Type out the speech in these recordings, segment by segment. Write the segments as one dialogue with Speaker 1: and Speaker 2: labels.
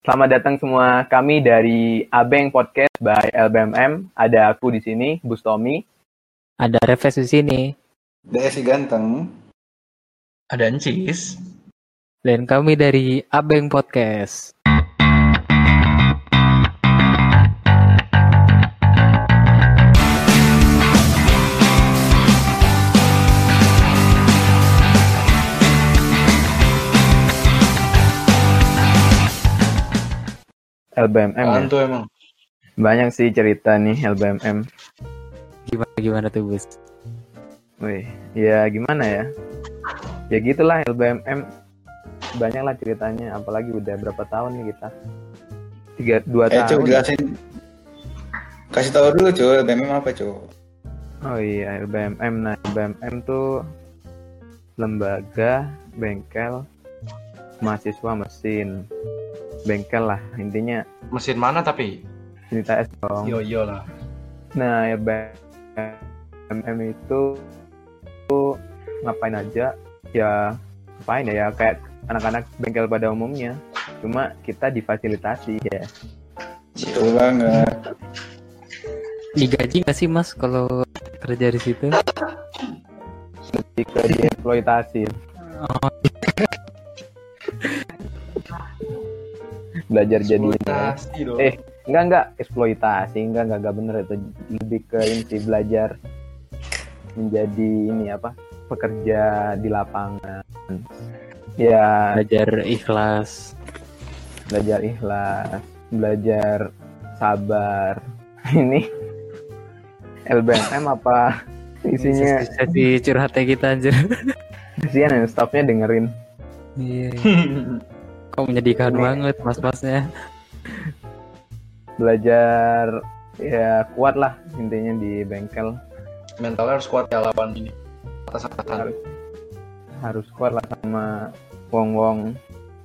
Speaker 1: Selamat datang semua kami dari Abeng Podcast by LBMM. Ada aku di sini, Bustomi.
Speaker 2: Ada Refes di sini.
Speaker 3: DSI ganteng.
Speaker 4: Ada Encis.
Speaker 2: Dan kami dari Abeng Podcast.
Speaker 1: LBMM ya.
Speaker 3: Apaan tuh emang?
Speaker 1: Banyak sih cerita nih LBMM.
Speaker 2: Gimana gimana tuh, Bus?
Speaker 1: Wih, ya gimana ya? Ya gitulah LBMM. Banyaklah ceritanya, apalagi udah berapa tahun nih kita? Tiga, dua
Speaker 3: Eh, coba
Speaker 1: tahun.
Speaker 3: jelasin. Kasih tahu dulu, cuy. BMM apa, cuy?
Speaker 1: Oh iya, LBMM. Nah, LBMM tuh lembaga bengkel mahasiswa mesin. Bengkel lah, intinya
Speaker 4: Mesin mana tapi?
Speaker 1: cerita es dong.
Speaker 4: Yo yo lah.
Speaker 1: Nah, ya BMM itu, itu ngapain aja? Ya ngapain ya? ya kayak anak-anak bengkel pada umumnya. Cuma kita difasilitasi ya.
Speaker 3: Betul banget.
Speaker 2: Digaji nggak sih, Mas, kalau kerja di situ?
Speaker 1: Jika dieksploitasi. Belajar jadi ini.
Speaker 4: Eksploitasi dong.
Speaker 1: Eh, Enggak enggak eksploitasi, enggak enggak enggak bener itu lebih ke ini sih, belajar menjadi ini apa? pekerja di lapangan. Ya,
Speaker 2: Belajar ikhlas.
Speaker 1: belajar ikhlas, belajar sabar. Ini LBMM apa isinya?
Speaker 2: Sesi curhatnya kita anjir.
Speaker 1: Kasihan ya, staffnya dengerin.
Speaker 2: Iya. Kok menyedihkan
Speaker 1: Ini-
Speaker 2: banget mas-masnya.
Speaker 1: Belajar ya kuat lah intinya di bengkel
Speaker 4: Mentalnya harus kuat ya lawan ini. Atas atasan.
Speaker 1: harus harus kuat lah sama wong-wong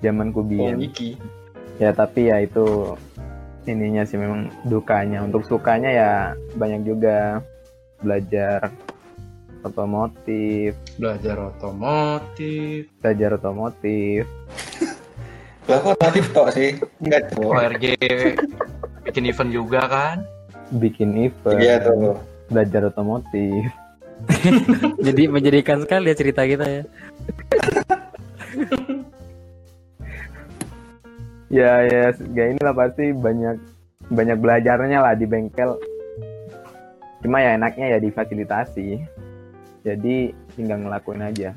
Speaker 1: zaman
Speaker 4: Oh,
Speaker 1: kubian.
Speaker 4: Niki.
Speaker 1: Ya tapi ya itu ininya sih memang dukanya. Untuk sukanya ya banyak juga belajar otomotif,
Speaker 4: Belajar otomotif.
Speaker 1: belajar otomotif,
Speaker 3: Lah, kok relatif tok sih? Enggak, cuy.
Speaker 4: ORG bikin event juga kan?
Speaker 1: bikin event,
Speaker 3: Iya, tuh.
Speaker 1: belajar otomotif.
Speaker 2: Jadi menjadikan sekali ya cerita kita ya.
Speaker 1: Ya ya, ya inilah pasti banyak banyak belajarnya lah di bengkel. Cuma ya enaknya ya difasilitasi. Jadi tinggal ngelakuin aja.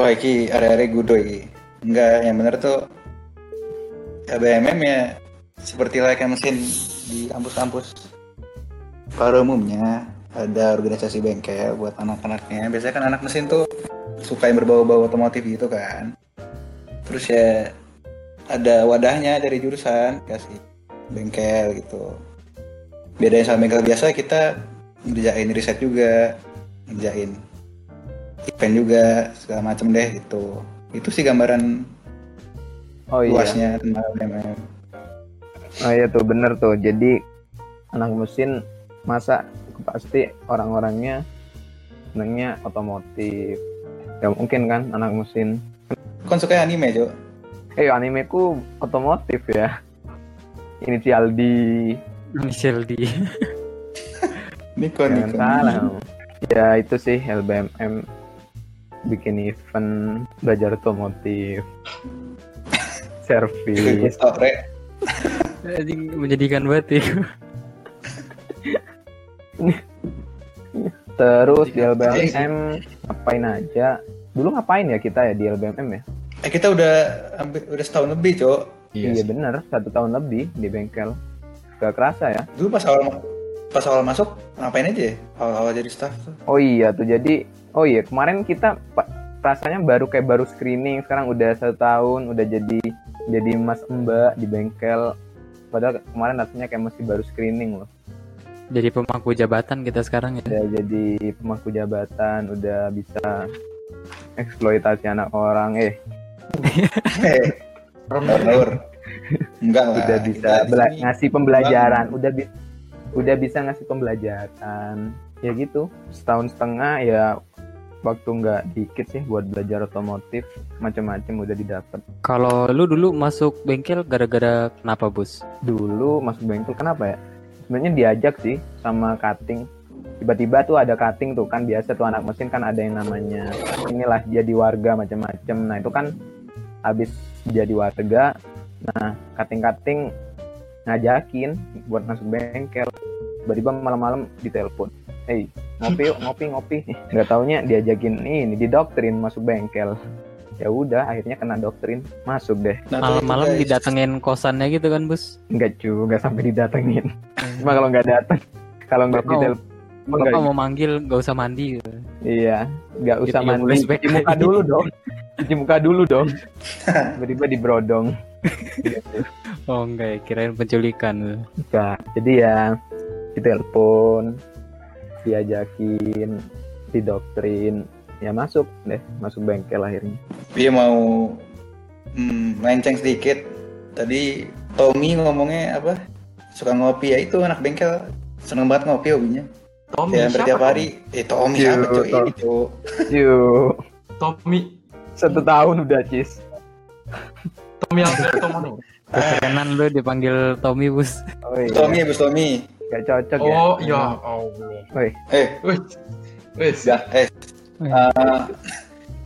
Speaker 3: Wah, iki area-area gudo iki. Enggak, yang bener tuh KBMM ya seperti layaknya mesin di kampus-kampus. Pada umumnya ada organisasi bengkel buat anak-anaknya. Biasanya kan anak mesin tuh suka yang berbau-bau otomotif gitu kan. Terus ya ada wadahnya dari jurusan kasih bengkel gitu. Bedanya sama bengkel biasa kita ngerjain riset juga, ngerjain event juga segala macam deh gitu itu sih gambaran
Speaker 1: Oh iya.
Speaker 3: luasnya tentang BMM
Speaker 1: Oh iya tuh bener tuh. Jadi anak mesin masa pasti orang-orangnya senangnya otomotif. Ya mungkin kan anak mesin.
Speaker 3: kan suka anime Jo
Speaker 1: Eh animeku otomotif ya. Inisial D.
Speaker 2: Michelle di
Speaker 3: Nikon
Speaker 1: Jangan salah. Ya itu sih LBMM bikin event belajar otomotif servis
Speaker 3: Stop, Re.
Speaker 2: Anjing, menjadikan banget ya.
Speaker 1: terus di LBMM ngapain aja dulu ngapain ya kita ya di LBMM ya
Speaker 3: eh kita udah hampir- udah setahun lebih Jo
Speaker 1: iya bener satu tahun lebih di bengkel gak kerasa ya
Speaker 3: dulu pas awal ma- pas awal masuk ngapain aja ya? awal-awal jadi staff tuh
Speaker 1: oh iya tuh jadi oh iya kemarin kita pa- rasanya baru kayak baru screening sekarang udah satu tahun udah jadi jadi mas mbak di bengkel padahal kemarin rasanya kayak masih baru screening loh
Speaker 2: Jadi pemangku jabatan kita sekarang ya.
Speaker 1: udah jadi pemangku jabatan udah bisa eksploitasi anak orang eh
Speaker 3: Hei,
Speaker 4: Rem-
Speaker 3: Lur. enggak lah
Speaker 1: udah
Speaker 3: Kita
Speaker 1: bisa
Speaker 3: di
Speaker 1: bela-
Speaker 3: sini
Speaker 1: ngasih pembelajaran udah bi- udah bisa ngasih pembelajaran ya gitu setahun setengah ya waktu nggak dikit sih buat belajar otomotif macam-macam udah didapat
Speaker 2: Kalau lu dulu masuk bengkel gara-gara kenapa, Bus?
Speaker 1: dulu masuk bengkel kenapa ya sebenarnya diajak sih sama cutting tiba-tiba tuh ada cutting tuh kan biasa tuh anak mesin kan ada yang namanya inilah jadi warga macam-macam nah itu kan habis jadi warga nah cutting-cutting ngajakin buat masuk bengkel tiba-tiba malam-malam ditelepon hey ngopi yuk ngopi ngopi nggak taunya diajakin ini didoktrin masuk bengkel ya udah akhirnya kena doktrin masuk deh
Speaker 3: Nah, tuh
Speaker 2: Malam-malam
Speaker 3: guys,
Speaker 2: didatengin kosannya gitu kan, Bus?
Speaker 1: Enggak cu, enggak sampai didatengin. Cuma kalau enggak datang, kalau enggak
Speaker 2: Bapak mau-
Speaker 1: ditelepon enggak.
Speaker 2: Bapak mau manggil nggak usah mandi gitu.
Speaker 1: Iya, enggak usah
Speaker 2: Iya, mulai
Speaker 1: mandi.
Speaker 2: spek.
Speaker 1: Cuci muka dulu dong. Cuci muka dulu dong. Tiba-tiba dibrodong.
Speaker 2: Oh enggak, ya, kirain penculikan.
Speaker 1: Enggak. Jadi ya ditelepon, diajakin, didoktrin, ya masuk deh, masuk bengkel akhirnya.
Speaker 3: Dia mau hmm, melenceng sedikit. Tadi Tommy ngomongnya apa? Suka ngopi ya itu anak bengkel. Seneng banget ngopi hobinya.
Speaker 4: Tommy
Speaker 3: Ya,
Speaker 4: siapa?
Speaker 3: hampir tiap hari. Eh Tommy
Speaker 1: Yo,
Speaker 3: siapa
Speaker 1: Tom.
Speaker 3: cuy? Ini cuy.
Speaker 1: Yuk,
Speaker 4: Tommy
Speaker 1: satu tahun udah cis.
Speaker 4: Tommy Alberto mana?
Speaker 2: Kenan lu dipanggil Tommy, Bus.
Speaker 1: Oh iya,
Speaker 3: Eh, Tommy bus Tommy.
Speaker 1: enggak cocok ya.
Speaker 4: Oh ya Allah.
Speaker 1: Woi,
Speaker 3: Eh,
Speaker 4: Wih, wih,
Speaker 3: ya, eh.
Speaker 2: Wih.
Speaker 3: Ah,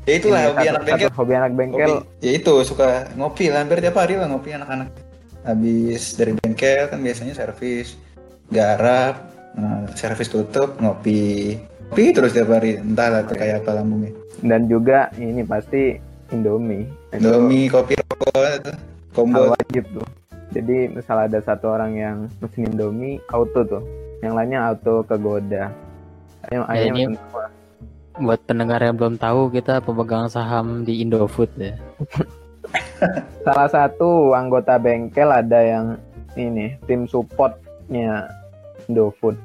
Speaker 3: ya itulah
Speaker 1: ini
Speaker 3: hobi
Speaker 1: satu-
Speaker 3: anak bengkel.
Speaker 1: satu hobi anak bengkel.
Speaker 3: Ngopi. Ya itu suka ngopi lah, hampir tiap hari lah ngopi anak-anak. Habis dari bengkel kan biasanya servis, garap, eh, servis tutup, ngopi. Ngopi terus tiap hari, entahlah tuh kayak apa lambungnya.
Speaker 1: dan juga ini pasti Indomie. Itu
Speaker 3: Domi, kopi, rokok,
Speaker 1: hal
Speaker 3: itu. combo.
Speaker 1: wajib tuh. Jadi misal ada satu orang yang mesin Indomie auto tuh, yang lainnya auto kegoda. Ayo,
Speaker 2: Ya,
Speaker 1: ayo
Speaker 2: ini-
Speaker 1: mesen semua.
Speaker 2: Buat pendengar yang belum tahu, kita pemegang saham di Indofood ya.
Speaker 1: Salah satu anggota bengkel ada yang ini tim supportnya Indofood,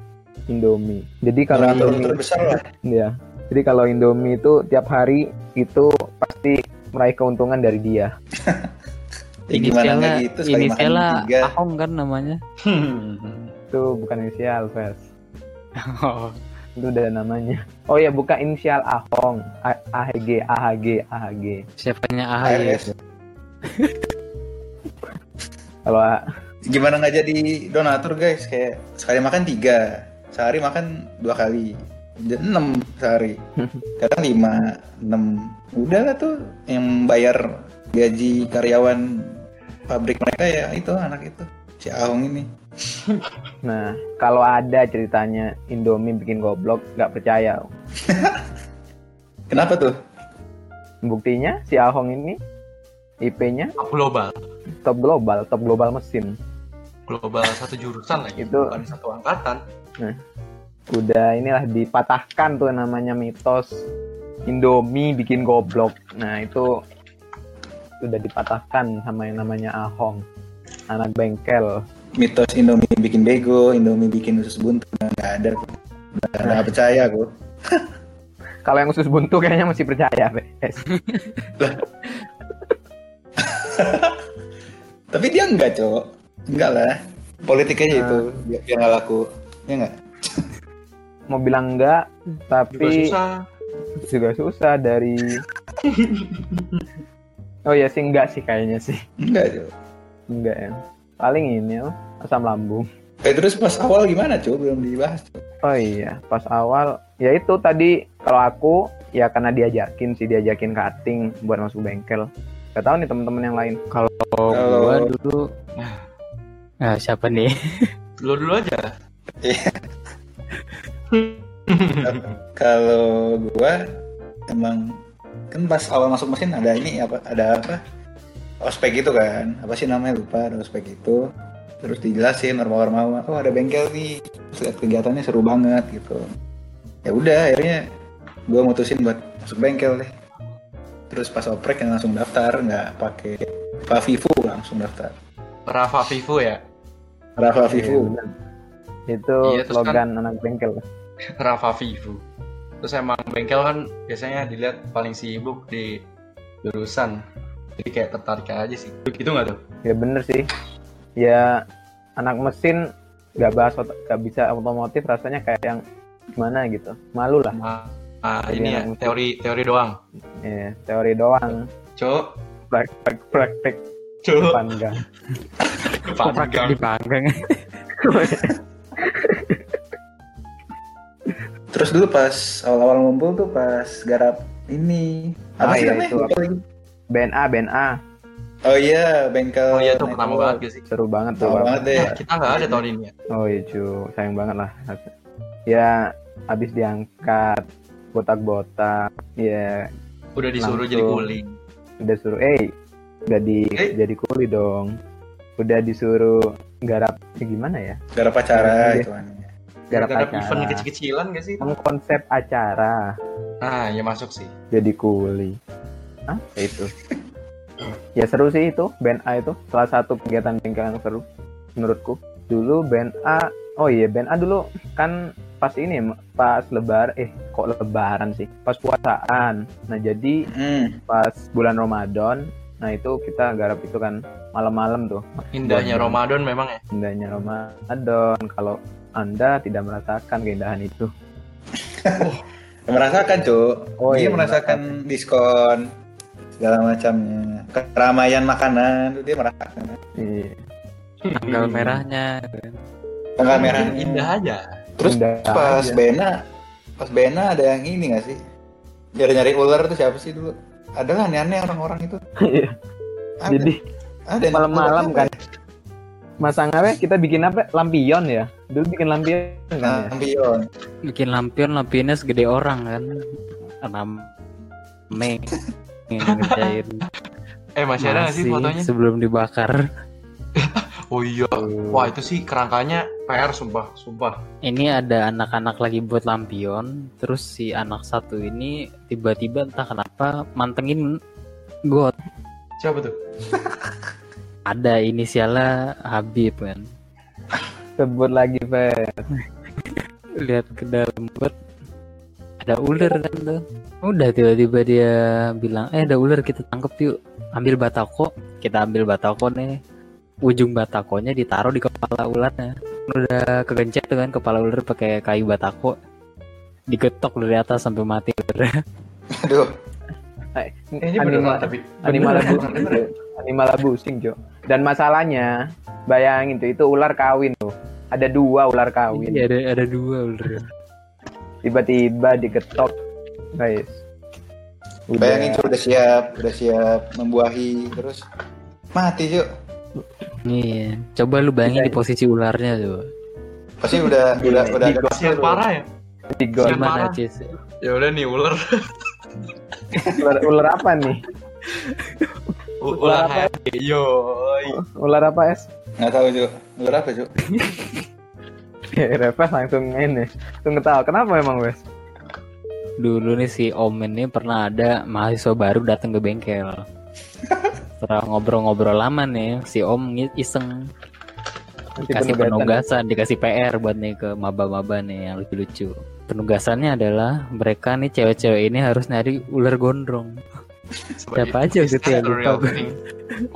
Speaker 1: Indomie. Jadi kalau
Speaker 3: Donatur-donatur
Speaker 1: Indomie,
Speaker 3: besar lah.
Speaker 1: ya. Jadi kalau Indomie itu tiap hari itu pasti meraih keuntungan dari dia.
Speaker 3: Ya, gimana nggak
Speaker 2: Inisialnya,
Speaker 3: gitu, sekali makan
Speaker 2: inisialnya
Speaker 3: tiga.
Speaker 2: Ahong kan namanya.
Speaker 4: Hmm.
Speaker 1: Itu bukan inisial, Fes.
Speaker 2: Oh,
Speaker 1: Itu udah namanya. Oh ya, buka inisial Ahong. A- AHG, AHG, AHG.
Speaker 2: siapanya Ahai.
Speaker 3: ARS.
Speaker 1: Kalau A-
Speaker 3: Gimana nggak jadi donatur guys, kayak sekali makan tiga, sehari makan dua kali, Udah enam sehari, kadang lima, enam. Udah lah tuh yang bayar gaji karyawan pabrik mereka ya itu anak itu si Ahong ini.
Speaker 1: Nah, kalau ada ceritanya Indomie bikin goblok, nggak percaya.
Speaker 3: Kenapa tuh?
Speaker 1: Buktinya si Ahong ini IP-nya
Speaker 4: global,
Speaker 1: top global, top global mesin.
Speaker 4: global satu jurusan lagi,
Speaker 1: Itu-
Speaker 4: bukan satu angkatan.
Speaker 1: Udah inilah dipatahkan tuh namanya mitos Indomie bikin goblok. Nah, itu udah dipatahkan sama yang namanya Ahong. Anak bengkel.
Speaker 3: Mitos Indomie bikin bego, Indomie bikin usus buntu nggak ada. Nggak nggak percaya aku.
Speaker 1: Kalau yang khusus buntu kayaknya masih percaya, Eh, Bes.
Speaker 3: Tapi dia enggak cowok, enggak lah. Politik aja itu biar biar nggak laku, ya nggak?
Speaker 1: Mau bilang enggak,
Speaker 4: Juga
Speaker 1: tapi
Speaker 4: susah.
Speaker 1: juga susah dari oh ya sih enggak sih kayaknya sih
Speaker 3: Enggak cowok.
Speaker 1: enggak ya paling ini apa, asam lambung
Speaker 3: Eh terus pas awal gimana cuy belum dibahas cuy.
Speaker 1: oh iya pas awal ya itu tadi kalau aku ya karena diajakin sih diajakin cutting buat masuk bengkel gak tahu nih teman-teman yang lain
Speaker 2: Oh,
Speaker 3: Halo.
Speaker 2: gua dulu. Nah, siapa nih?
Speaker 4: Lo dulu aja.
Speaker 3: Iya. Kalau gua emang kan pas awal masuk mesin ada ini apa ada apa ospek itu kan apa sih namanya lupa ada ospek itu terus dijelasin norma-norma oh ada bengkel nih terus lihat kegiatannya seru banget gitu ya udah akhirnya gua mutusin buat masuk bengkel deh terus pas oprek yang langsung daftar nggak pakai Favivu langsung daftar
Speaker 4: Rafa Vivo ya.
Speaker 3: Rafa
Speaker 1: Iya,
Speaker 3: Vivu
Speaker 1: bener. itu
Speaker 4: Iya, terus
Speaker 1: slogan anak bengkel
Speaker 4: Rafa Vivo. Terus emang bengkel kan biasanya dilihat paling sibuk di jurusan. Jadi kayak tertarik aja sih. Gitu nggak tuh?
Speaker 1: ya bener sih ya anak mesin gak bahas ot- gak bisa otomotif rasanya kayak yang gimana gitu malu lah
Speaker 4: Ma- Ah,
Speaker 1: Jadi
Speaker 4: ini ya
Speaker 1: anak muda.
Speaker 4: teori teori doang.
Speaker 1: ya teori doang
Speaker 4: Cuk,
Speaker 1: praktek praktek
Speaker 4: cuk,
Speaker 1: panggang
Speaker 2: Praktek
Speaker 4: panggang.
Speaker 2: dipanggang.
Speaker 3: Terus dulu pas awal-awal ngumpul tuh pas garap ini.
Speaker 1: Ah,
Speaker 3: Apa sih
Speaker 1: iya,
Speaker 3: namanya?
Speaker 1: itu.
Speaker 3: Lupa lagi.
Speaker 1: BNA BNA
Speaker 3: Oh iya, bengkel.
Speaker 4: Oh iya tuh
Speaker 3: Night
Speaker 4: pertama
Speaker 3: Walk.
Speaker 4: banget gak sih?
Speaker 1: seru banget tuh
Speaker 3: Pertama
Speaker 1: Bang.
Speaker 3: banget deh.
Speaker 4: Eh, kita nggak ada tahun ini ya.
Speaker 1: oh iya cu sayang banget lah ya habis diangkat botak-botak ya
Speaker 4: Udah disuruh
Speaker 1: Langsung.
Speaker 4: jadi kuli.
Speaker 1: udah suruh eh udah di
Speaker 4: Eh.
Speaker 1: jadi kuli dong udah disuruh garap ya gimana ya
Speaker 3: Garap acara
Speaker 1: Iya.
Speaker 3: gitu kan.
Speaker 1: garap
Speaker 4: Gara-gara
Speaker 1: acara
Speaker 4: event kecil-kecilan gak sih?
Speaker 1: mengkonsep acara
Speaker 4: Nah, ya masuk sih.
Speaker 1: jadi kuli apa itu ya seru sih itu band A itu salah satu kegiatan bengkel yang seru menurutku dulu band A oh iya band A dulu kan pas ini pas lebar eh kok lebaran sih pas puasaan nah jadi
Speaker 3: Hmm.
Speaker 1: pas bulan Ramadan nah itu kita garap itu kan malam-malam tuh
Speaker 4: Indahnya
Speaker 1: Bener.
Speaker 4: Ramadan memang ya.
Speaker 1: indahnya Ramadan kalau anda tidak merasakan keindahan itu
Speaker 3: Ya, Merasakan, Cuk.
Speaker 1: Oh, iya,
Speaker 3: Dia merasakan diskon segala macamnya. Keramaian makanan tuh dia merasakan.
Speaker 1: Iya,
Speaker 2: Tanggal merahnya.
Speaker 3: Tanggal
Speaker 4: Merah
Speaker 3: merahnya.
Speaker 4: indah aja.
Speaker 3: Terus
Speaker 1: Hmm, indah
Speaker 3: pas
Speaker 1: aja.
Speaker 3: Bena, pas Bena ada yang ini gak sih? Nyari-nyari ular tuh siapa sih dulu? Adalah aneh-aneh orang-orang itu.
Speaker 1: Iya.
Speaker 3: Ada.
Speaker 1: jadi
Speaker 3: ada yang-
Speaker 1: malam-malam
Speaker 3: apa
Speaker 1: kan masang apa kita bikin apa lampion ya dulu bikin lampion kan
Speaker 3: ya? Nah,
Speaker 1: ya
Speaker 3: Ampion.
Speaker 2: Bikin lampion, lampionnya segede orang kan. Enam Mei ngerjain
Speaker 4: Eh masih ada nggak sih
Speaker 2: Masih
Speaker 4: fotonya?
Speaker 2: sebelum dibakar.
Speaker 4: Oh iya. Wah itu sih kerangkanya PR sumpah, sumpah.
Speaker 2: Ini ada anak-anak lagi buat lampion, terus si anak satu ini tiba-tiba entah kenapa mantengin got.
Speaker 4: Siapa tuh?
Speaker 2: Ada inisialnya Habib kan.
Speaker 1: sebut lagi Fe
Speaker 2: lihat ke dalam got ada ular kan tuh udah tiba-tiba dia bilang eh ada ular kita tangkep yuk ambil batako kita ambil batako nih ujung batakonya ditaruh di kepala ularnya udah kegencet tuh kan kepala ular pakai kayu batako digetok dari atas sampai mati ular
Speaker 3: Aduh,
Speaker 4: Eh, ini beneran tapi
Speaker 1: animal
Speaker 2: Beneran.
Speaker 1: abusing Jo. animal abusing jo dan masalahnya bayangin tuh itu ular kawin tuh ada dua ular kawin
Speaker 2: Iya, ada ada dua ular
Speaker 1: tiba-tiba digetok guys Udah.
Speaker 3: bayangin tuh udah siap, udah siap membuahi terus mati Cuk.
Speaker 2: iya coba lu bayangin di posisi ularnya tuh
Speaker 3: Pasti udah udah udah ada
Speaker 4: kasihan parah ya.
Speaker 1: Digot.
Speaker 4: Siapa?
Speaker 2: gimana
Speaker 4: parah.
Speaker 2: Cis
Speaker 4: Ya udah nih ular,
Speaker 1: ular, ular apa nih
Speaker 4: U-
Speaker 1: Ular
Speaker 4: ular
Speaker 1: apa?
Speaker 4: HRD. Yoi.
Speaker 1: ular apa es
Speaker 3: nggak tahu Cuk. Ular apa Cuk?
Speaker 1: Reva Eh, langsung ini langsung ketawa kenapa emang wes
Speaker 2: dulu nih si Omen ini pernah ada mahasiswa baru datang ke bengkel. Setelah ngobrol-ngobrol lama nih, si Om ngi- iseng
Speaker 1: Nanti
Speaker 2: kasih
Speaker 1: penugasan.
Speaker 2: penugasan, dikasih PR buat nih ke maba-maba nih yang lucu-lucu. Penugasannya adalah mereka nih cewek-cewek ini harus nyari ular gondrong.
Speaker 4: Sebagai
Speaker 2: Siapa aja gitu ya,
Speaker 4: Mr.
Speaker 2: lupa
Speaker 4: Real
Speaker 2: gue.
Speaker 4: Thing.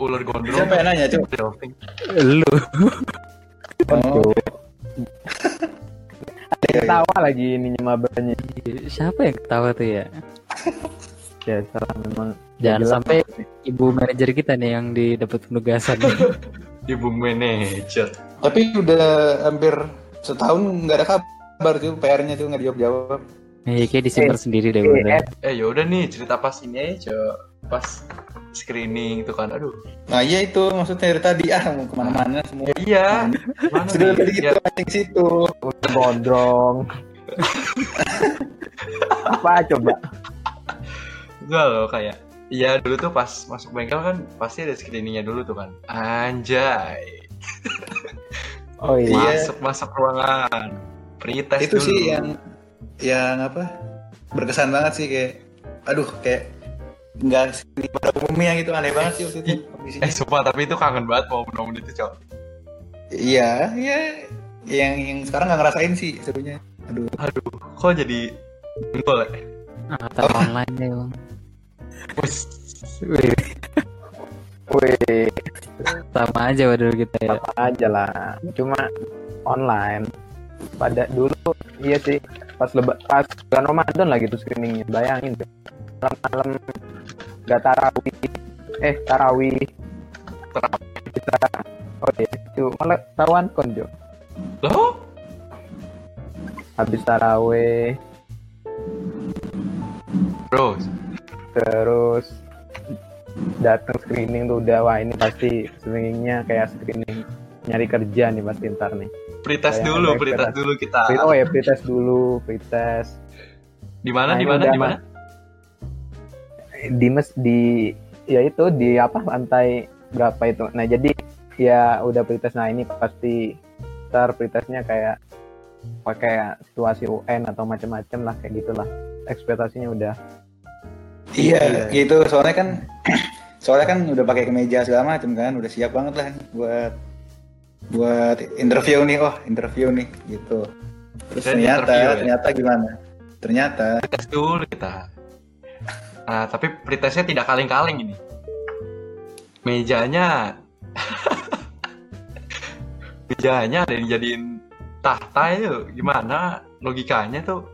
Speaker 4: Ular gondrong.
Speaker 3: Siapa yang nanya Cuk?
Speaker 4: Real Thing.
Speaker 2: Lu
Speaker 3: Oh,
Speaker 1: ketawa lagi ininya mabanya
Speaker 2: siapa yang ketawa tuh ya?
Speaker 1: ya salah memang
Speaker 2: Jangan
Speaker 1: Jelas.
Speaker 2: sampai ibu manajer kita nih yang didapat penugasan.
Speaker 4: Ibu manager.
Speaker 3: tapi udah hampir setahun nggak ada kabar Cuk. PR-nya Cuk nggak dijawab-jawab.
Speaker 2: Nih Iya, kayak disimpan sendiri
Speaker 1: eh,
Speaker 2: deh bener.
Speaker 4: Eh yaudah nih cerita pas ini aja. Pas screening itu kan. Aduh.
Speaker 3: Nah iya itu maksudnya dari tadi ah mau kemana-mana semua
Speaker 4: Ya, iya. Mana
Speaker 3: Sudah
Speaker 4: nih?
Speaker 3: tadi
Speaker 4: Ya,
Speaker 3: gitu mancing situ.
Speaker 1: gondrong apa coba
Speaker 4: Enggak loh kayak Iya dulu tuh pas masuk bengkel kan pasti ada screeningnya dulu tuh kan Anjay
Speaker 1: oh iya
Speaker 3: Iya.
Speaker 4: Masuk-masuk ruangan Pretest
Speaker 3: itu
Speaker 4: dulu
Speaker 3: sih yang yang apa berkesan banget sih kayak aduh kayak nggak sini pada umumnya gitu aneh banget sih waktu itu kondisinya
Speaker 4: Eh sumpah tapi itu kangen banget mau momen itu cok
Speaker 3: iya iya yang yang sekarang nggak ngerasain sih serunya aduh
Speaker 4: Aduh kok jadi jengkol ya
Speaker 2: Angkatan
Speaker 1: Oh.
Speaker 2: online deh, Bang.
Speaker 4: Wes.
Speaker 2: Wih,
Speaker 1: weh
Speaker 2: sama aja padahal kita ya.
Speaker 1: apa aja lah cuma online pada dulu iya sih pas lebat pas bulan Ramadan lagi tuh screeningnya bayangin deh malam-malam gak tarawih eh tarawih kita oh iya itu malah taruhan konjo
Speaker 4: Loh?
Speaker 1: habis tarawih
Speaker 4: Bro,
Speaker 1: terus datang screening tuh udah wah ini pasti screeningnya kayak screening nyari kerja nih pasti ntar nih
Speaker 4: pretest
Speaker 1: Kayak
Speaker 4: dulu,
Speaker 1: ada
Speaker 4: pretest
Speaker 1: keras.
Speaker 4: dulu kita.
Speaker 1: Pre- oh ya pretest dulu pretest
Speaker 4: Di
Speaker 1: Nah,
Speaker 4: mana? Di
Speaker 1: ini
Speaker 4: mana?
Speaker 1: udah
Speaker 4: Di mana?
Speaker 1: di mes di ya itu di apa lantai berapa itu nah jadi ya udah pretest nah ini pasti ntar pretestnya kayak pakai situasi UN atau macam-macam lah kayak gitulah ekspektasinya udah
Speaker 3: Iya, gitu. Soalnya kan soalnya kan udah pakai kemeja segala macam kan, udah siap banget lah nih buat buat interview nih. Oh, interview nih gitu. Terus
Speaker 4: Dan
Speaker 3: ternyata
Speaker 4: interview ya?
Speaker 3: ternyata gimana? Ternyata
Speaker 4: Pretest dulu kita. Nah, tapi pretestnya tidak kaleng-kaleng ini. Mejanya mejanya ada yang jadiin tahta itu gimana logikanya tuh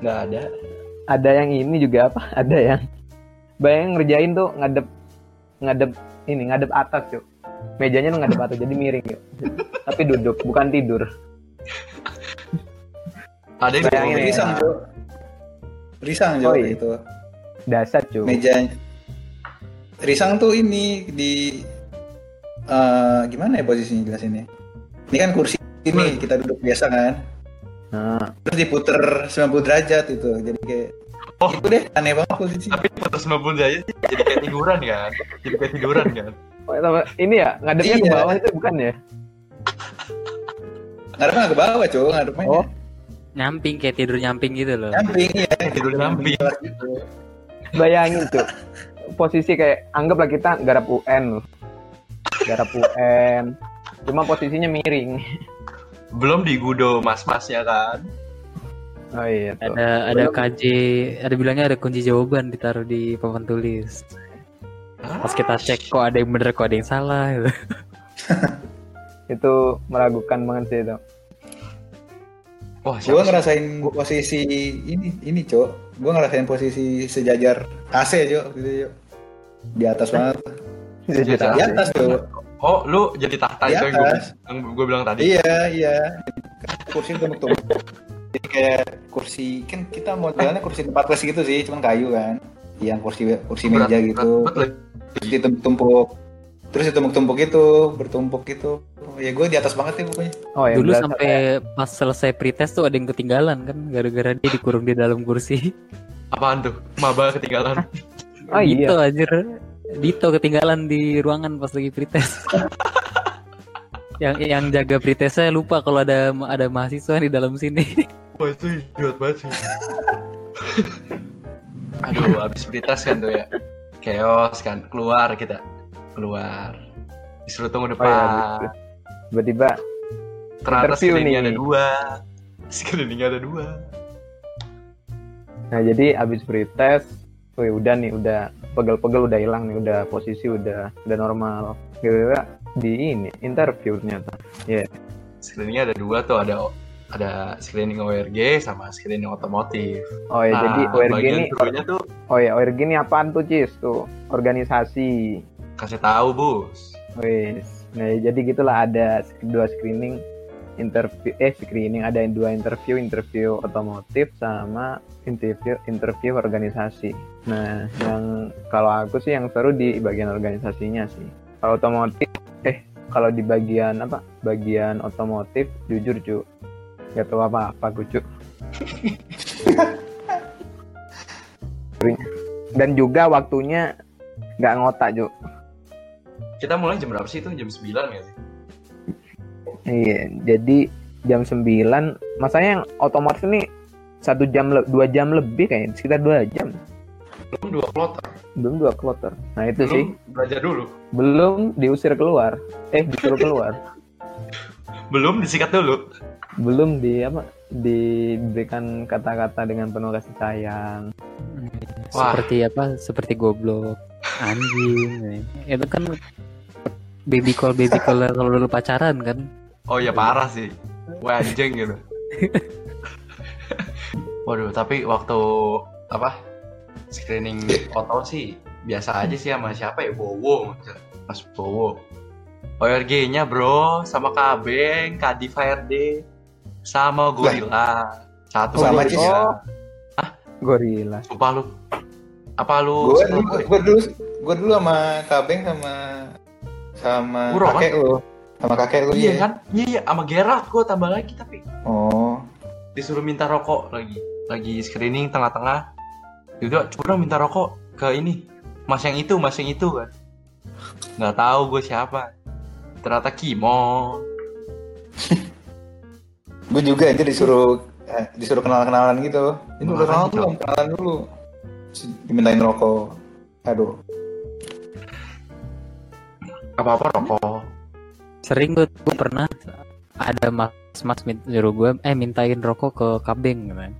Speaker 4: nggak ada
Speaker 1: ada yang ini juga apa ada yang bayang ngerjain tuh ngadep ngadep ini ngadep atas yuk mejanya tuh ngadep atas jadi miring yuk tapi duduk bukan tidur
Speaker 4: ada yang
Speaker 1: Bayangin
Speaker 4: dibawa
Speaker 1: ya.
Speaker 4: pisang.
Speaker 3: risang, Jo. Risang, Jo,
Speaker 1: Oh, iya.
Speaker 3: gitu.
Speaker 1: dasar cuy
Speaker 3: Meja Gitu. Risang tuh ini di eh, gimana ya posisinya jelasinnya? Ini kan kursi ini kita duduk biasa kan.
Speaker 1: nah,
Speaker 3: Terus diputer 90 derajat itu. Jadi kayak
Speaker 4: Oh.
Speaker 3: itu deh aneh banget posisi.
Speaker 4: tapi putus 90 aja sih jadi kayak tiduran kan jadi kayak tiduran kan
Speaker 1: oh, apa- ini ya ngadepnya ke
Speaker 3: Iya.
Speaker 1: bawah itu bukan ya
Speaker 3: Ngadepnya nggak ke bawah, Cuk, ngadepnya.
Speaker 1: Oh.
Speaker 2: nyamping kayak tidur nyamping gitu loh
Speaker 3: Nyamping ya.
Speaker 4: tidur nyamping.
Speaker 3: Gitu.
Speaker 1: bayangin tuh posisi kayak anggaplah kita garap UN loh. garap UN cuma posisinya miring
Speaker 4: belum digudo mas-masnya kan
Speaker 1: oh iya tuh
Speaker 2: ada ada KJ ada bilangnya ada kunci jawaban ditaruh di papan tulis
Speaker 4: Hah?
Speaker 2: pas
Speaker 1: Ah.
Speaker 2: kita cek kok ada yang bener kok ada yang salah gitu.
Speaker 1: itu meragukan banget sih itu
Speaker 4: wah
Speaker 3: Gua
Speaker 4: siapa sih?
Speaker 3: ngerasain posisi ini ini, Cuk. Gua ngerasain posisi sejajar AC, Cuk, gitu, Cuk. Di atas banget.
Speaker 1: Jadi
Speaker 3: Di
Speaker 4: Sejajar.
Speaker 1: rahasia.
Speaker 3: atas, Cuk.
Speaker 4: oh lu jadi tahta
Speaker 3: Di
Speaker 1: Iya,
Speaker 4: itu yang
Speaker 1: kan?
Speaker 4: gue,
Speaker 3: atas.
Speaker 4: yang gue bilang tadi
Speaker 3: Iya, iya. Kursi tumpuk-tumpuk. Jadi kayak kursi kan kita modelnya kursi tempat kelas gitu sih, cuman kayu kan. Yang kursi kursi
Speaker 4: Berat-
Speaker 3: meja gitu.
Speaker 4: berat banget
Speaker 3: Terus ditumpuk-tumpuk. Terus ditumpuk-tumpuk gitu, bertumpuk gitu. Ya gue di atas banget sih pokoknya.
Speaker 1: oh yang
Speaker 2: dulu
Speaker 1: belas-
Speaker 2: sampai pas selesai pretest tuh ada yang ketinggalan kan gara-gara dia dikurung di dalam kursi
Speaker 4: apaan tuh maba ketinggalan
Speaker 1: oh iya
Speaker 2: Dito anjir Dito ketinggalan di ruangan pas lagi pretest yang yang jaga pretestnya lupa kalau ada ada mahasiswa di dalam sini
Speaker 4: wah itu idiot banget sih aduh habis pretest kan tuh ya chaos kan keluar kita keluar disuruh tunggu
Speaker 1: Oh, iya,
Speaker 4: depan
Speaker 1: betul. tiba-tiba
Speaker 4: ternyata
Speaker 1: Interview
Speaker 4: screening
Speaker 1: nih.
Speaker 4: ada dua screening ada dua
Speaker 1: nah jadi abis pretest oh ya udah nih udah pegel-pegel udah hilang nih udah posisi udah udah normal kira-kira di ini interview ternyata
Speaker 4: screeningnya ada dua tuh ada ada screening ORG sama screening otomotif.
Speaker 1: oh ya jadi
Speaker 4: Nah,
Speaker 1: ORG
Speaker 4: bagian
Speaker 1: ini
Speaker 4: keduanya tuh
Speaker 1: oh ya ORG ini apaan tuh cis tuh organisasi
Speaker 4: kasih tahu bos.
Speaker 1: Wes. Nah, ya jadi gitulah ada dua screening interview eh screening ada yang dua interview interview otomotif sama interview interview organisasi. Nah, yang kalau aku sih yang seru di bagian organisasinya sih. Kalau otomotif eh kalau di bagian apa? Bagian otomotif jujur cu Gak tahu apa-apa aku cu. Dan juga waktunya nggak ngotak cu.
Speaker 4: Kita mulai jam berapa sih itu? Jam 9 ya sih?
Speaker 1: Iya, jadi jam 9 masanya yang otomatis ini satu jam le- dua jam lebih kayaknya sekitar dua jam
Speaker 4: Belum dua kloter.
Speaker 1: belum dua kloter nah itu
Speaker 4: Belum
Speaker 1: sih
Speaker 4: belajar dulu.
Speaker 1: belum diusir keluar eh disuruh keluar
Speaker 4: Belum disikat dulu.
Speaker 1: belum di apa diberikan kata-kata dengan penuh kasih sayang
Speaker 4: Wah.
Speaker 2: seperti apa seperti goblok anjing itu kan baby call baby call kalau dulu pacaran kan
Speaker 4: iya, Oh ya parah sih. Wah anjing gitu. Waduh, tapi waktu apa screening otot sih biasa aja sih sama siapa ya Bowo Mas Bowo ORG-nya bro sama Kabeng, Kadi FireD sama Gorilla satu
Speaker 3: Sama Cis.
Speaker 4: Gorilla.
Speaker 1: gorila
Speaker 4: Sumpah lu apa lu
Speaker 3: Gue
Speaker 4: seneng, boy?
Speaker 3: dulu, gue dulu sama Kabeng sama sama
Speaker 4: Uro, kan?
Speaker 3: kakek lu, sama kakek lu
Speaker 4: Iya
Speaker 3: ya.
Speaker 4: kan? Iya iya sama Gerard gue tambah lagi tapi
Speaker 3: Oh,
Speaker 4: disuruh minta rokok lagi. Lagi screening tengah-tengah. Yaudah, coba dong minta rokok ke ini. Mas yang itu, mas yang itu kan. Nggak tahu gue siapa. Ternyata Kimo.
Speaker 3: gue juga aja disuruh eh, disuruh kenalan-kenalan gitu. Ini udah kenalan
Speaker 4: Makanya,
Speaker 3: belum? Kenalan dulu. Terus Dimintain rokok. Aduh,
Speaker 4: Apa-apa rokok.
Speaker 2: sering gue gue pernah ada mas mas min- nyuruh gue eh mintain rokok ke kabeng gitu.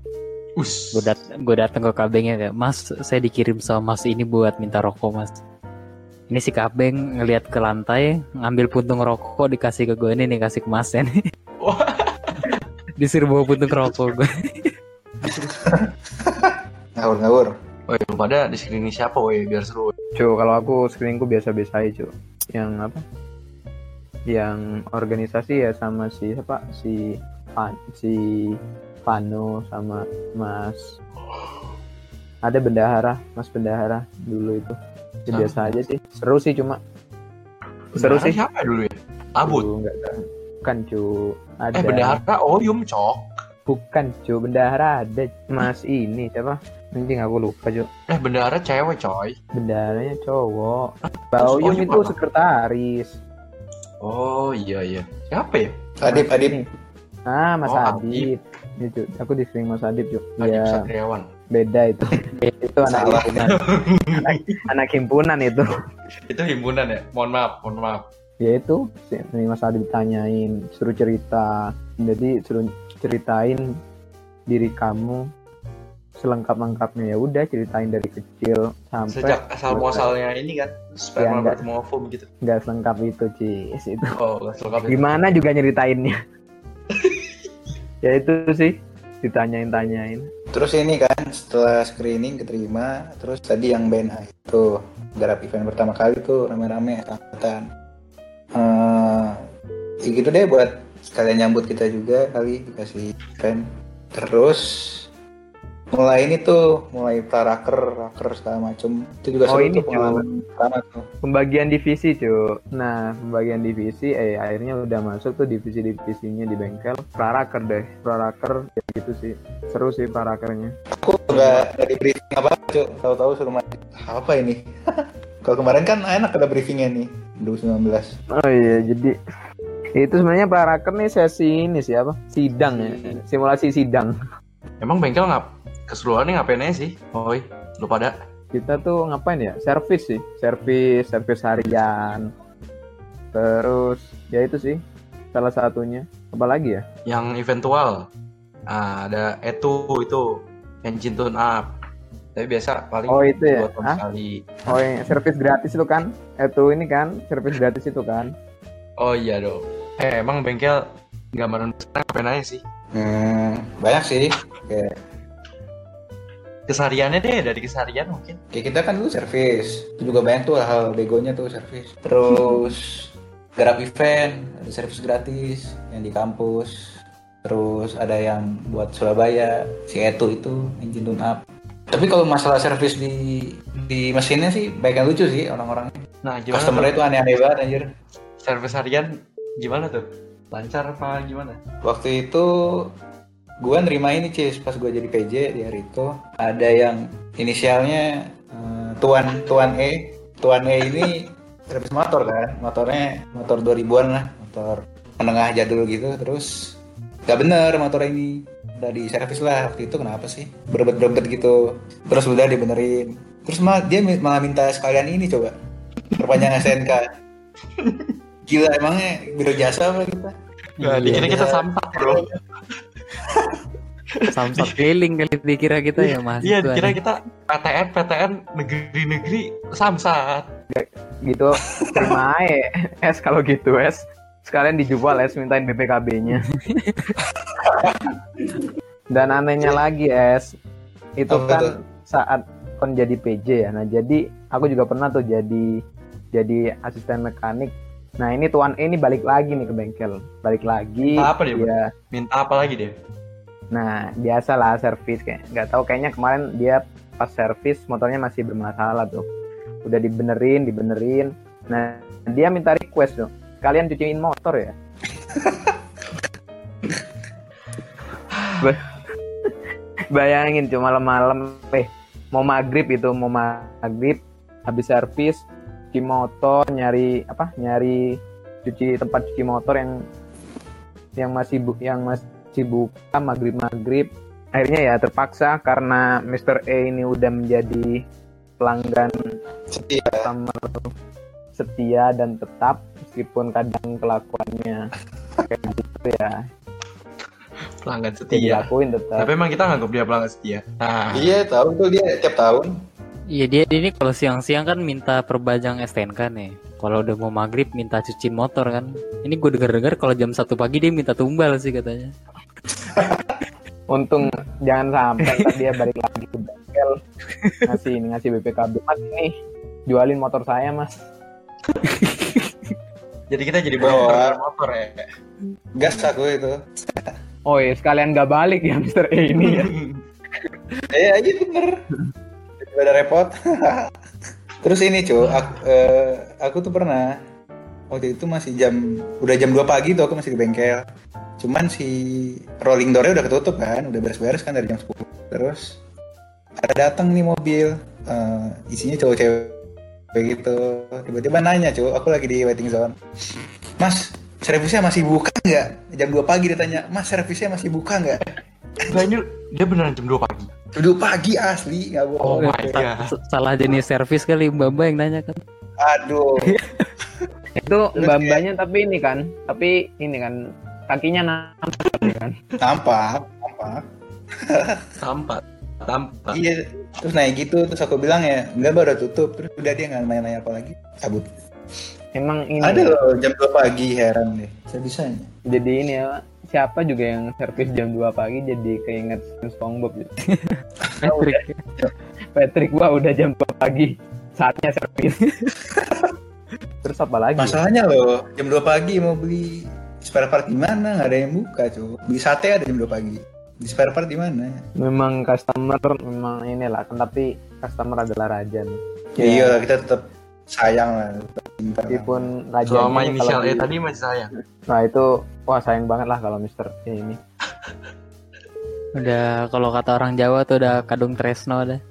Speaker 4: Us.
Speaker 2: gue dat gue datang ke kabengnya kayak mas saya dikirim sama mas ini buat minta rokok mas ini si kabeng ngelihat ke lantai ngambil puntung rokok dikasih ke gue ini nih kasih ke masnya nih
Speaker 4: Wah.
Speaker 2: disuruh bawa puntung rokok gue
Speaker 3: ngawur-ngawur.
Speaker 4: Woi, lu pada di screening siapa woi biar seru.
Speaker 1: cu kalau aku screeningku biasa-biasa aja cu yang apa yang organisasi ya sama si apa si Pan, si Pano sama Mas ada bendahara Mas bendahara dulu itu Ya,
Speaker 4: Hah?
Speaker 1: biasa aja sih seru sih cuma seru
Speaker 4: Bendahara
Speaker 1: sih
Speaker 4: siapa dulu ya? Abut.
Speaker 1: Cu, nggak tahu. bukan cu ada
Speaker 4: Eh bendahara Oyum cok.
Speaker 1: bukan cu bendahara ada Mas ini siapa anjing aku lupa cu
Speaker 4: Eh bendahara cewek coy.
Speaker 1: bendaharanya cowok Baoyum
Speaker 4: Oyum
Speaker 1: itu
Speaker 4: Ah, apa?
Speaker 1: sekretaris
Speaker 4: Oh iya iya. Siapa ya?
Speaker 3: Adip, Adip.
Speaker 1: Ah, Mas
Speaker 4: Oh,
Speaker 1: Adib. Ya, Cuk. Aku di sering Mas Adib, Cuk.
Speaker 4: Adip
Speaker 1: Iya,
Speaker 4: Satriawan.
Speaker 1: beda itu. itu anak
Speaker 3: Salah.
Speaker 1: himpunan. anak, anak himpunan itu.
Speaker 4: Itu himpunan ya. Mohon maaf, mohon maaf.
Speaker 1: Ya itu, sering Mas Adib tanyain, suruh cerita. Jadi suruh ceritain diri kamu selengkap-lengkapnya ya udah ceritain dari kecil sampai
Speaker 4: Sejak asal muasalnya ini kan
Speaker 1: Ya,
Speaker 4: sperma
Speaker 1: enggak.
Speaker 4: bertemu ovum gitu.
Speaker 1: nggak selengkap itu cis itu
Speaker 4: Oh, nggak selengkap itu.
Speaker 1: gimana juga nyeritainnya ya itu sih ditanyain-tanyain
Speaker 3: Terus ini kan setelah screening keterima, terus tadi yang BNH itu garap event pertama kali tuh rame-rame angkatan. Eh, ya gitu deh buat sekalian nyambut kita juga kali dikasih event. Terus mulai ini tuh mulai praraker, raker segala macem itu juga
Speaker 1: Oh,
Speaker 3: seru
Speaker 1: ini
Speaker 3: tuh pengalaman pertama tuh.
Speaker 1: pembagian divisi cuy nah pembagian divisi eh akhirnya udah masuk tuh divisi divisinya di bengkel praraker deh praraker ya gitu sih seru sih prarakernya
Speaker 3: Aku nggak nggak di briefing apa cuy, tahu-tahu suruh maju. apa ini? Kalau kemarin kan enak ada briefingnya nih 2019.
Speaker 1: oh iya jadi itu sebenarnya praraker nih sesi ini sih apa sidang ya simulasi sidang
Speaker 4: Emang bengkel nggak keseluruhannya ngapain aja sih? Oi, lu pada
Speaker 1: kita tuh ngapain ya servis sih servis servis harian terus ya itu sih salah satunya apalagi ya
Speaker 4: yang eventual. Ah, ada Etu itu engine tune up. Tapi biasa paling
Speaker 1: Oh, itu ya?
Speaker 4: dua tahun
Speaker 1: Hah?
Speaker 4: sekali.
Speaker 1: oh yang servis gratis itu kan itu ini kan servis gratis itu kan
Speaker 4: Oh iya dong. Eh, emang bengkel gambaran besar ngapain aja sih?
Speaker 3: Hmm, banyak sih. Kayak,
Speaker 4: Kesehariannya deh, dari keseharian mungkin.
Speaker 3: kayak kita kan dulu servis. Itu juga banyak tuh hal begonya tuh servis. Terus garap event, ada servis gratis yang di kampus. Terus ada yang buat Surabaya, si Etu itu, engine tune up. Tapi kalau masalah servis di di mesinnya sih banyak yang lucu sih orang-orang.
Speaker 4: Nah, gimana
Speaker 3: Customer
Speaker 4: tuh?
Speaker 3: itu aneh-aneh banget anjir.
Speaker 4: Service harian gimana tuh? Lancar apa gimana?
Speaker 3: Waktu itu gua nerima ini Cis pas gua jadi PJ di hari itu ada yang inisialnya eh, Tuan Tuan E Tuan E ini servis motor kan motornya motor 2000-an lah motor menengah jadul gitu terus gak bener motor ini udah di servis lah waktu itu kenapa sih berbet-berbet gitu terus udah dibenerin terus malah dia mi- malah minta sekalian ini coba perpanjang SNK gila emangnya biro jasa apa kita
Speaker 4: Nah, dikira kita samsak, bro.
Speaker 2: samsat keliling kali dikira kita ya mas
Speaker 4: Iya, dikira kita PTN, PTN, negeri-negeri, samsat.
Speaker 1: gitu terima aja es kalau gitu es sekalian dijual es mintain BPKB nya Dan anehnya lagi es itu
Speaker 3: Apa
Speaker 1: kan
Speaker 3: tuh?
Speaker 1: saat kon jadi PJ ya. Nah jadi aku juga pernah tuh jadi jadi asisten mekanik. Nah ini tuan E ini balik lagi nih ke bengkel, balik lagi.
Speaker 4: Apa dia, Bu?
Speaker 1: Iya.
Speaker 4: Minta apa lagi deh?
Speaker 1: Nah biasalah servis kayak nggak tahu kayaknya kemarin dia pas servis motornya masih bermasalah tuh. Udah dibenerin, dibenerin. Nah dia minta request tuh. Kalian cuciin motor ya? Ba- Bayangin cuma malam-malam, eh mau maghrib itu mau maghrib habis servis cuci motor nyari apa nyari cuci tempat cuci motor yang yang masih bu, yang masih buka maghrib maghrib akhirnya ya terpaksa karena Mr. A ini udah menjadi pelanggan
Speaker 3: Setia.
Speaker 1: utama setia dan tetap meskipun kadang kelakuannya kayak gitu ya
Speaker 4: Pelanggan
Speaker 1: jadi
Speaker 4: setia.
Speaker 1: lakuin tetap
Speaker 4: Iya. Tapi emang kita nganggap dia pelanggan setia. Nah,
Speaker 3: Iya tahu tuh dia tiap tahun.
Speaker 2: Iya dia dia ini kalau siang-siang kan minta perpanjang STNK nih. kan ya. Kalau udah mau maghrib minta cuci motor kan. Ini gue denger-dengar kalau jam satu pagi dia minta tumbal sih katanya.
Speaker 1: untung jangan sampai ntar dia balik lagi ke bengkel ngasih ini ngasih BPKB mas ini jualin motor saya mas
Speaker 4: jadi kita jadi
Speaker 3: Bawa.
Speaker 4: bawa motor ya.
Speaker 3: Gas aku itu.
Speaker 1: oh iya sekalian gak balik ya Mister E ini ya
Speaker 3: Iya iya bener. Daripada repot. Terus ini cuy, aku, eh, aku tuh pernah waktu itu masih jam udah jam 2 pagi tuh aku masih di bengkel. Cuman si rolling door-nya udah ketutup kan, udah beres-beres kan dari jam 10. Terus ada datang nih mobil, eh, isinya cowok-cewek gitu. Tiba-tiba nanya cuy, aku lagi di waiting zone. Mas, servisnya masih buka nggak? Jam 2 pagi ditanya, Mas servisnya masih buka nggak?
Speaker 4: Enggak, ini dia beneran jam 2 pagi.
Speaker 3: Duduk pagi asli nggak bohong.
Speaker 4: Oh my
Speaker 2: Sa-
Speaker 4: God.
Speaker 2: sa- Salah jenis servis kali Mbak Mbak yang nanya kan.
Speaker 3: Aduh.
Speaker 1: itu mbak-mbaknya tapi ini kan tapi ini kan kakinya nampak kan
Speaker 3: Nampak, nampak.
Speaker 4: Tampak. Tampak.
Speaker 3: Iya. Terus naik gitu, terus aku bilang ya, enggak baru tutup. Terus udah dia nggak nanya-nanya apa lagi. Cabut. Iya.
Speaker 1: emang ini
Speaker 3: Ada loh jam 2 pagi heran deh. Saya bisanya.
Speaker 1: jadi ini ya siapa juga yang servis jam 2 pagi jadi keinget SpongeBob gitu.
Speaker 2: Patrick.
Speaker 1: Patrick wah udah jam 2 pagi saatnya servis terus apa lagi
Speaker 3: Masalahnya loh, jam 2 pagi mau beli spare part di mana? Nggak ada yang buka, cuy. Beli sate ada jam 2 pagi. Di spare part di mana?
Speaker 1: memang customer memang inilah kan tapi customer adalah raja nih.
Speaker 3: Ya, Iya lah, kita tetap sayang lah. tetap cinta lah.
Speaker 1: meskipun raja
Speaker 4: Selama
Speaker 1: ini
Speaker 4: inisial
Speaker 1: kalau
Speaker 4: E
Speaker 1: di-
Speaker 4: tadi masih sayang.
Speaker 1: nah itu wah sayang banget lah kalau Mister E ini
Speaker 2: Udah kalau kata orang Jawa tuh udah kadung tresno dah.